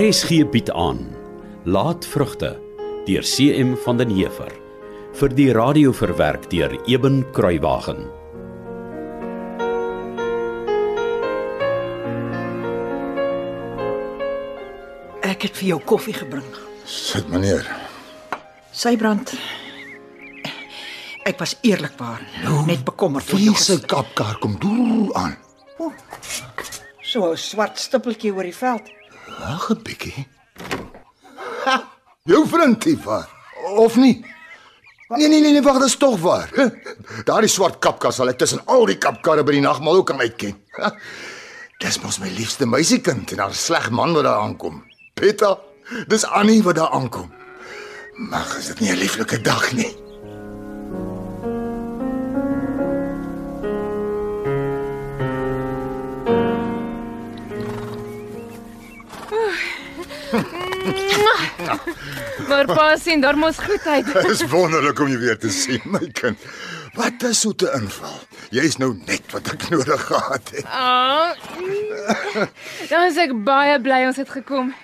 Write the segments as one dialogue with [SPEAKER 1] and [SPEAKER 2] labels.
[SPEAKER 1] RSG bied aan Laatvrugte deur CM van den Heever vir die radio verwerk deur Eben Kruiwagen.
[SPEAKER 2] Ek het vir jou koffie gebring.
[SPEAKER 3] Sit meneer.
[SPEAKER 2] Sybrand. Ek was eerlikwaar net bekommerd oor jou
[SPEAKER 3] Viese kapkar kom doer aan.
[SPEAKER 2] gesig. so 'n swart stippeltjie oor die veld.
[SPEAKER 3] Wag 'n bietjie. Ha, Jou vriend hier waar. Of nie? Nee nee nee, nee wag, dis tog waar. Daardie swart kapkar sal ek tussen al die kapkarre by die nagmaal ook kan uitken. Ha, Dis mos my liefste meisiekind en haar sleg man wat daar aankom. Petta, dis Annie wat daar aankom. Mag is dit nie 'n lieflike dag nie.
[SPEAKER 4] Maar pa sien daar mos goed uit.
[SPEAKER 3] Dis wonderlik om jou weer te sien, my kind. Wat 'n soete inval. Jy's nou net wat ek nodig gehad het.
[SPEAKER 4] Ah. mm. Dan is ek baie bly ons het gekom.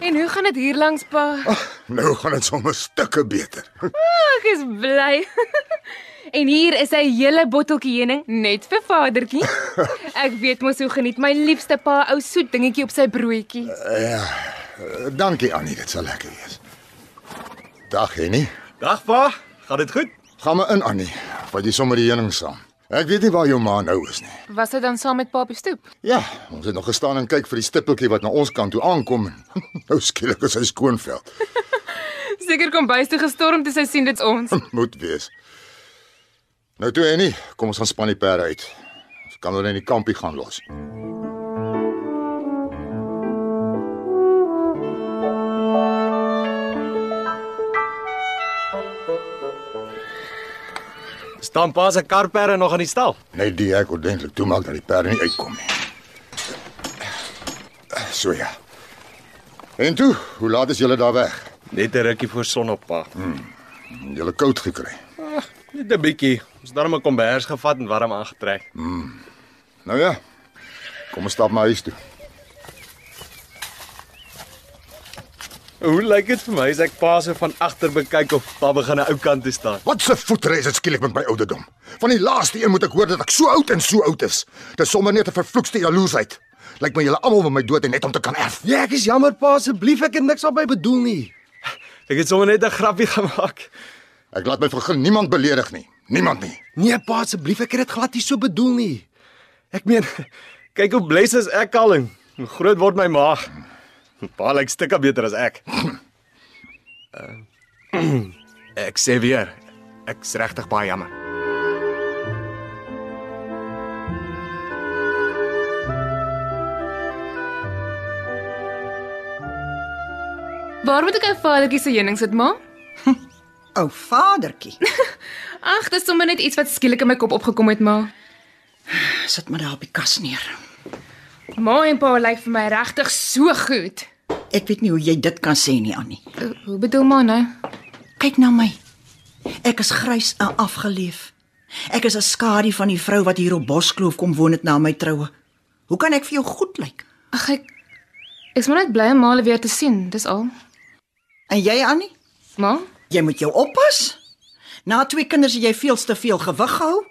[SPEAKER 4] En hoe gaan dit hier langs pa?
[SPEAKER 3] Nou gaan dit sommer stukke beter.
[SPEAKER 4] Ag, ek is bly. En hier is 'n hele botteltjie heuning net vir vadertjie. Ek weet mos hoe geniet my liefste pa ou soet dingetjie op sy broodjie.
[SPEAKER 3] Ja. eh, Dankie Annie, dit sal lekker wees. Dag Henny.
[SPEAKER 5] Dag pa, gaan dit goed?
[SPEAKER 3] Gaan maar in Annie, want jy sommer die heuning saam. Ek weet nie waar jou ma nou is nie.
[SPEAKER 4] Was dit dan saam met pa op die stoep?
[SPEAKER 3] Ja, ons het nog gestaan en kyk vir die stippeltjie wat na ons kant toe aankom. Nou skielik is hy skoonveld.
[SPEAKER 4] Seker kom bys toe gestorm toe sy sien dit's ons.
[SPEAKER 3] Moet wees. Nou toe Henny, kom ons gaan span die perde uit. Ons kan hulle in die kampie gaan los.
[SPEAKER 5] Staan pa se karperre nog aan die stal?
[SPEAKER 3] Net die ek ordentlik toemaak dat die perde nie uitkom nie. So ja. En toe, hoe laat is julle daar weg?
[SPEAKER 5] Net 'n rukkie voor sonop pa.
[SPEAKER 3] Julle koud gekry.
[SPEAKER 5] Net 'n bietjie. Ons het darm 'n kombers gevat en warm aangetrek.
[SPEAKER 3] Nou ja. Kom ons stap maar huis toe.
[SPEAKER 5] Hoe lyk dit vir my as ek pa se van agter bekyk of pa begin aan 'n ou kant te staan?
[SPEAKER 3] Wat 'n voetre is dit skielik met my ouderdom. Van die laaste een moet ek hoor dat ek so oud en so oud is. Dis sommer net 'n vervloekste jaloersheid. Lyk my julle almal wil my dood en net om te kan erf.
[SPEAKER 6] Ja, ek is jammer pa, asseblief, ek het niks daarby bedoel nie.
[SPEAKER 5] Ek het sommer net 'n grappie gemaak.
[SPEAKER 3] Ek laat my vergun niemand beledig nie. Niemand nie.
[SPEAKER 6] Nee pa, asseblief, ek het dit glad nie so bedoel nie.
[SPEAKER 5] Ek meen, kyk hoe bles is ek al en hoe groot word my maag. Pa lyk stukke beter as ek. Uh, ek sê weer, ek's regtig baie jammer.
[SPEAKER 4] Waar moet ek ou vadertjie se heuning sit, ma?
[SPEAKER 2] Ou vadertjie.
[SPEAKER 4] Ag, dis sommer net iets wat skielik in my kop opgekom het, ma.
[SPEAKER 2] Sit maar daar op die kas neer.
[SPEAKER 4] Ma en pa lyk vir my regtig so goed.
[SPEAKER 2] Ek weet nie hoe jy dit kan sê nie, Annie.
[SPEAKER 4] Uh, Hoe bedoel ma nou?
[SPEAKER 2] Kyk na my. Ek is grys en afgeleef. Ek is 'n skadu van die vrou wat hier op Boskloof kom woon het na my troue. Hoe kan ek vir jou goed lyk?
[SPEAKER 4] Ag ek Ek's maar net bly om Male weer te sien, dis al.
[SPEAKER 2] En jy, Annie?
[SPEAKER 4] Ma,
[SPEAKER 2] Jy moet jou oppas. Na twee kinders het jy veel te veel gewig gehou.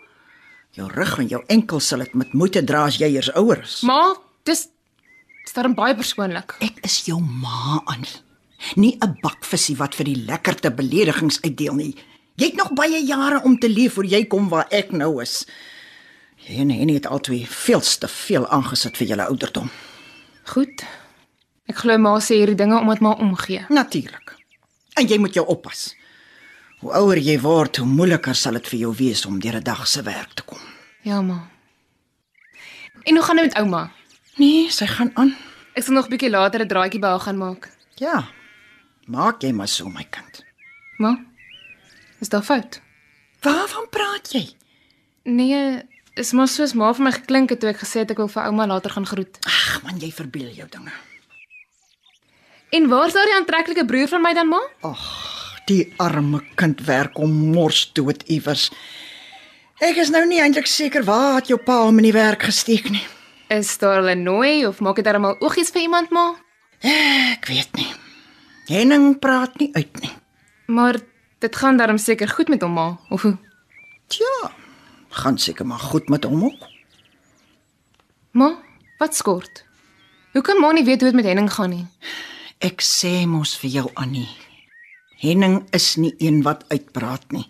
[SPEAKER 2] Jou rug en jou enkels sal dit met moeite dra as jy eers ouer is.
[SPEAKER 4] ma, dis dis darem baie persoonlik.
[SPEAKER 2] Ek is jou ma, Annie. Nie 'n bakvissie wat vir die lekkerste beledigings uitdeel nie. Jy het nog baie jare om te leef voor jy kom waar ek nou is. Jy en Henny het altyd veel te veel aangesit vir julle ouderdom.
[SPEAKER 4] Goed. Ek glo ma sê hierdie dinge omdat ma omgee.
[SPEAKER 2] Natuurlik. En jy moet jou oppas. Hoe ouer jy word, hoe moeiliker sal dit vir jou wees om deur 'n dag se werk te kom.
[SPEAKER 4] Ja, ma. En hoe gaan dit met ouma?
[SPEAKER 2] Nee, sy gaan aan.
[SPEAKER 4] Ek sal nog bietjie later 'n draadjie by haar gaan maak.
[SPEAKER 2] Ja. Maak jy maar so my kind.
[SPEAKER 4] Ma? Is daar fout?
[SPEAKER 2] Waarvan praat jy?
[SPEAKER 4] Nee, is maar soos ma vir my geklink het toe ek gesê het ek wil vir ouma later gaan groet.
[SPEAKER 2] Ag man, jy verbeel jou dinge.
[SPEAKER 4] En waar's daardie aantreklike broer van my dan, ma?
[SPEAKER 2] Die arme kind werk om mors dood iewers. Ek is nou nie eintlik seker waar het jou pa hom in die werk gesteek nie.
[SPEAKER 4] Is daar 'n nooi of maak dit darem al oogies vir iemand, ma?
[SPEAKER 2] Ek weet nie. Henning praat nie uit nie.
[SPEAKER 4] Maar dit gaan darm seker goed met hom ma, of hoe?
[SPEAKER 2] Tja, gaan seker maar goed met hom ook.
[SPEAKER 4] Ma, wat skort? Hoekom ma nie weet hoe dit met Henning gaan nie?
[SPEAKER 2] Ek sê mos vir jou Annie. Henning is nie een wat uitpraat nie.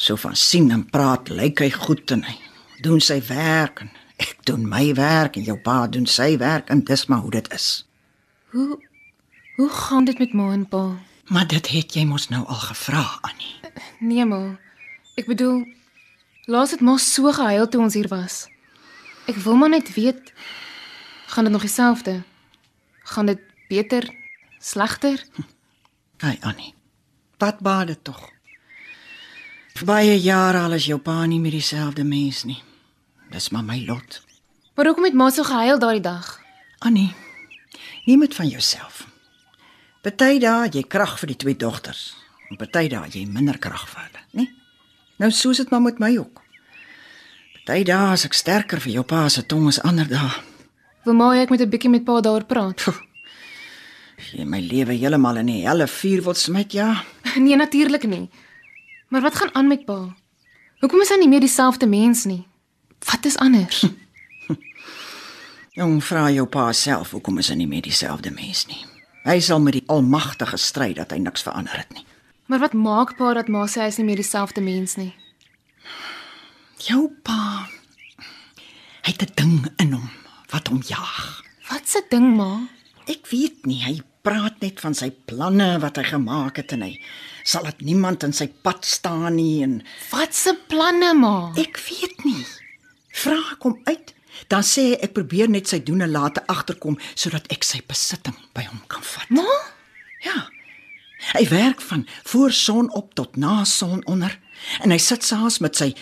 [SPEAKER 2] So van sien en praat lyk hy goed en hy doen sy werk en ek doen my werk en jou pa doen sy werk en dis maar hoe dit is.
[SPEAKER 4] Hoe gaan dit met ma en pa?
[SPEAKER 2] Maar dit het jy mos nou al gevra Annie.
[SPEAKER 4] Nee ma. Ek bedoel, laas het ma so gehuil toe ons hier was. Ek wil maar net weet, gaan dit nog dieselfde? Gaan dit beter? Slegter?
[SPEAKER 2] Hy Annie. Wat baat dit tog? Vir Baie jare al is jou pa nie meer dieselfde mens nie. Dis maar my lot.
[SPEAKER 4] Maar hoekom het ma so gehuil daardie dag?
[SPEAKER 2] Annie, neem dit van jouself. Party dae het jy krag vir die twee dogters, en party dae het jy minder krag vir hulle, né? Nou soos dit maar met my ook. Party dae is ek sterker vir jou pa se tong as ander dae.
[SPEAKER 4] Wil ma hê ek moet 'n bietjie met pa daaroor praat?
[SPEAKER 2] As Jy my lewe heeltemal in die helle vuur wil smit, ja.
[SPEAKER 4] Nee, natuurlik nie. Maar wat gaan aan met pa? Hoekom is hy nie meer dieselfde mens nie? Wat is anders?
[SPEAKER 2] Jong vra jou pa self hoekom is hy nie meer dieselfde mens nie. Hy sal met die Almagtige stry dat hy niks verander het nie.
[SPEAKER 4] maar wat maak pa dat ma sê hy is nie meer dieselfde mens nie?
[SPEAKER 2] Jou pa hy het 'n ding in hom wat hom jaag.
[SPEAKER 4] Wat se ding ma?
[SPEAKER 2] Ek weet nie, hy praat net van sy planne wat hy gemaak het en hy sal dit niemand in sy pad staan nie en
[SPEAKER 4] Wat se planne ma?
[SPEAKER 2] ek weet nie. Vra ek hom uit, dan sê hy ek probeer net sy doene laat agterkom sodat ek sy besitting by hom kan vat.
[SPEAKER 4] Ma?
[SPEAKER 2] Ja. Hy werk van voor son op tot na son onder en hy sit saans met sy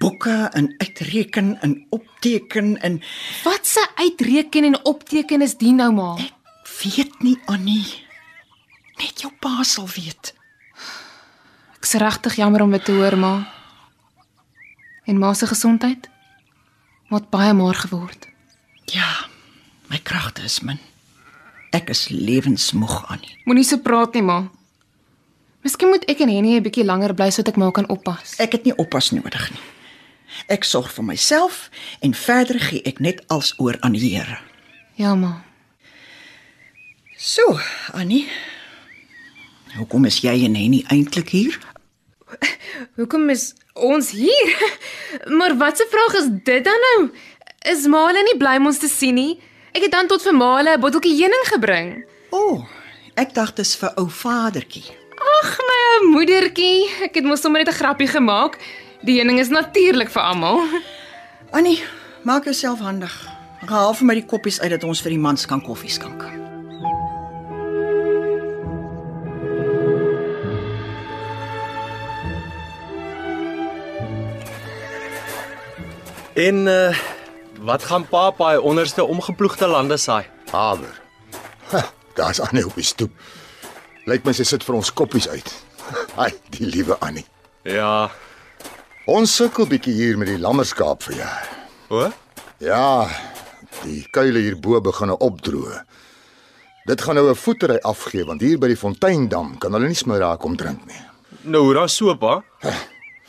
[SPEAKER 2] boeke en uitreken en opteken en
[SPEAKER 4] Wat se uitreken en opteken is die nou maar?
[SPEAKER 2] weet nie Annie. Net jou pa sal weet.
[SPEAKER 4] Ek's regtig jammer om dit te hoor, ma. En ma se gesondheid? Ma het baie maar geword.
[SPEAKER 2] Ja, my kragte is min. Ek is lewensmoeg aan nie.
[SPEAKER 4] Moenie so praat nie, ma. Miskien moet ek en Henny 'n bietjie langer bly sodat ek ma kan oppas.
[SPEAKER 2] Ek het nie oppas nodig nie. Ek sorg vir myself en verder gee ek net als oor aan die Here.
[SPEAKER 4] Ja, ma.
[SPEAKER 2] So, Annie. Hoekom is jy en Henny eintlik hier?
[SPEAKER 4] Hoekom is ons hier? maar wat 'n vraag is dit dan nou? Is ma hulle nie bly om ons te sien nie? Ek het dan tot vir ma hulle 'n botteltjie heuning gebring.
[SPEAKER 2] O, oh, ek dink dis vir ou vadertjie.
[SPEAKER 4] Ag my ou moedertjie, ek het mos sommer net 'n grappie gemaak. Die heuning is natuurlik vir almal.
[SPEAKER 2] Annie, maak jouself handig. Haal vir my die koppies uit dat ons vir die mans kan koffie skank.
[SPEAKER 5] En uh wat gaan pa paai onderste omgeploegde lande saai?
[SPEAKER 3] Haver. Ha, Daar's Annie op die stoep. Lyk my sy sit vir ons koppies uit. Ai, die liewe Annie.
[SPEAKER 5] Ja.
[SPEAKER 3] Ons sukkel bietjie hier met die lammerskaap vir jou.
[SPEAKER 5] O?
[SPEAKER 3] Ja, die kuile hierbo begine opdroog. Dit gaan nou 'n voetery afgee want hier by die Fonteindam kan hulle nie smy raak om drink nie.
[SPEAKER 5] Nou hoe dan so pa?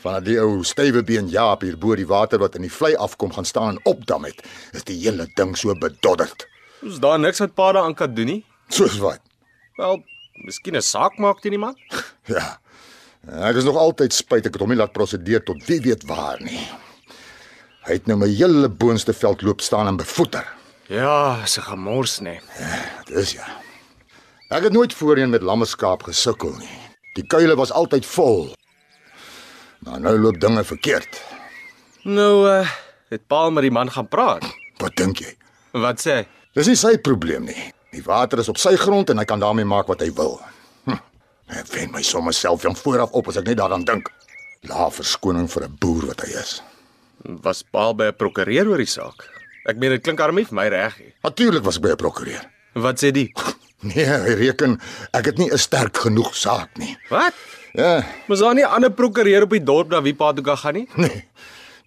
[SPEAKER 3] Van die ou stywe been Jaap hier bo die water wat in die vlei afkom gaan staan en opdam het, is die hele ding so bedodderd.
[SPEAKER 5] Ons daar niks wat pa daaraan kan doen nie.
[SPEAKER 3] Soos wat?
[SPEAKER 5] Wel, miskien 'n saak maak teen iemand.
[SPEAKER 3] Ja. Ek is nog altyd spyt ek het hom nie laat prosedeer tot wie weet waar nie. Hy het nou my hele boonste veld loop staan en bevoeter.
[SPEAKER 5] Ja, se gemors nê.
[SPEAKER 3] Dis ja. Ek het nooit voorheen met lammeskaap gesukkel nie. Die kuile was altyd vol. Maar nou loop dinge verkeerd.
[SPEAKER 5] Nou uh het pa al met die man gaan praat.
[SPEAKER 3] Wat dink jy?
[SPEAKER 5] Wat sê hy?
[SPEAKER 3] Dis nie sy probleem nie. Die water is op sy grond en hy kan daarmee maak wat hy wil. Hm. Ek wen my sommer self van vooraf op as ek net daaraan dink. La verskoning vir 'n boer wat hy is.
[SPEAKER 5] Was pa al by 'n prokureur oor die saak? Ek meen dit klink arm nie vir my reg nie.
[SPEAKER 3] Natuurlik was ek by 'n prokureur.
[SPEAKER 5] Wat sê die?
[SPEAKER 3] Nee, hy reken ek het nie 'n sterk genoeg saak nie.
[SPEAKER 5] Wat?
[SPEAKER 3] Ja,
[SPEAKER 5] Mos daar nie 'n ander prokureur op die dorp na wie pa toe kan gaan nie?
[SPEAKER 3] nee.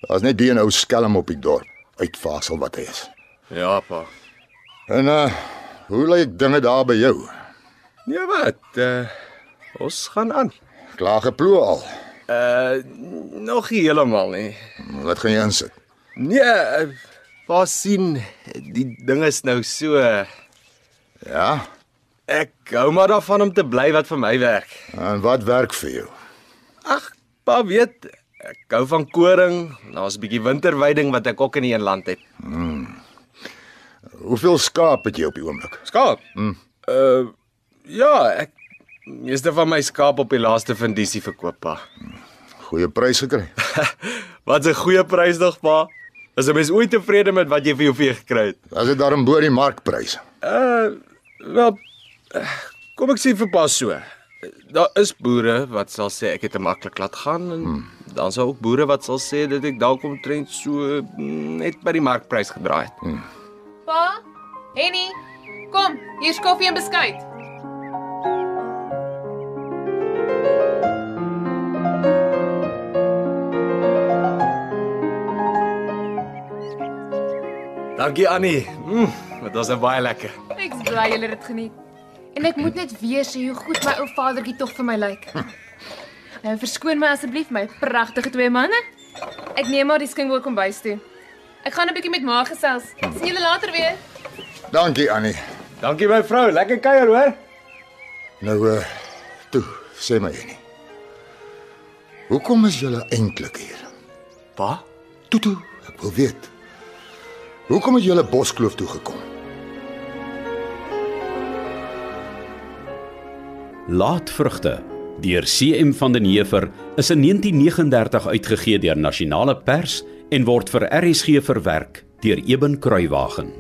[SPEAKER 3] Daar's net die een ou skelm op die dorp, uitvasel wat hy is.
[SPEAKER 5] Ja, pa.
[SPEAKER 3] En uh Hoe lyk dinge daar by jou?
[SPEAKER 5] Nee wat? Uh, ons gaan aan.
[SPEAKER 3] Klaar geploe al.
[SPEAKER 5] Uh nog nie heeltemal nie.
[SPEAKER 3] Wat gaan jy insit?
[SPEAKER 5] Nee, uh, pa sien die ding is nou so
[SPEAKER 3] Ja.
[SPEAKER 5] ek hou maar daarvan om te bly wat vir my werk.
[SPEAKER 3] En wat werk vir jou?
[SPEAKER 5] Ag, pa weet ek hou van koring. Daar's 'n bietjie winterweiding wat ek ook in die een land het.
[SPEAKER 3] Hoeveel skaap het jy op die oomblik?
[SPEAKER 5] Skaap. Mm. Uh ja, ek meeste van my skaap op die laaste vindisie verkoop pa.
[SPEAKER 3] Goeie prys gekry.
[SPEAKER 5] Wat 'n goeie prys nog pa. As 'n mens ooit tevrede met wat jy vir jou vee gekry het.
[SPEAKER 3] Was dit daarom bo die markprys?
[SPEAKER 5] Uh wel eh, kom ek sê vir pas so. Daar is boere wat sal sê ek het te maklik laat gaan en hmm. dan sal ook boere wat sal sê dat ek dalk omtrent so mm, net by die markprys gedraai het. Hmm.
[SPEAKER 4] Pa, Henny, kom, hier's koffie en beskuit.
[SPEAKER 5] Dankie Annie. Mm, dit was baie lekker.
[SPEAKER 4] Ek is bly julle het dit geniet. En ek moet net weer sê hoe goed my ou vadertjie tog vir my lyk. Nou verskoon my asseblief my pragtige twee manne. Ek neem maar die skinkboek kombuis toe. Ek gaan 'n bietjie met ma gesels. Sien julle later weer.
[SPEAKER 3] Dankie Annie.
[SPEAKER 5] Dankie my vrou, lekker kuier hoor.
[SPEAKER 3] Nou uh toe, sê my Jenny. Hoekom is julle eintlik hier?
[SPEAKER 5] Pa?
[SPEAKER 3] Toe toe, ek wil weet. Hoekom het julle Boskloof toe gekom?
[SPEAKER 1] Laatvrugte deur CM van den Heever is in 1939 uitgegee deur Nasionale Pers en word vir RSG verwerk deur Eben Kruiwagen.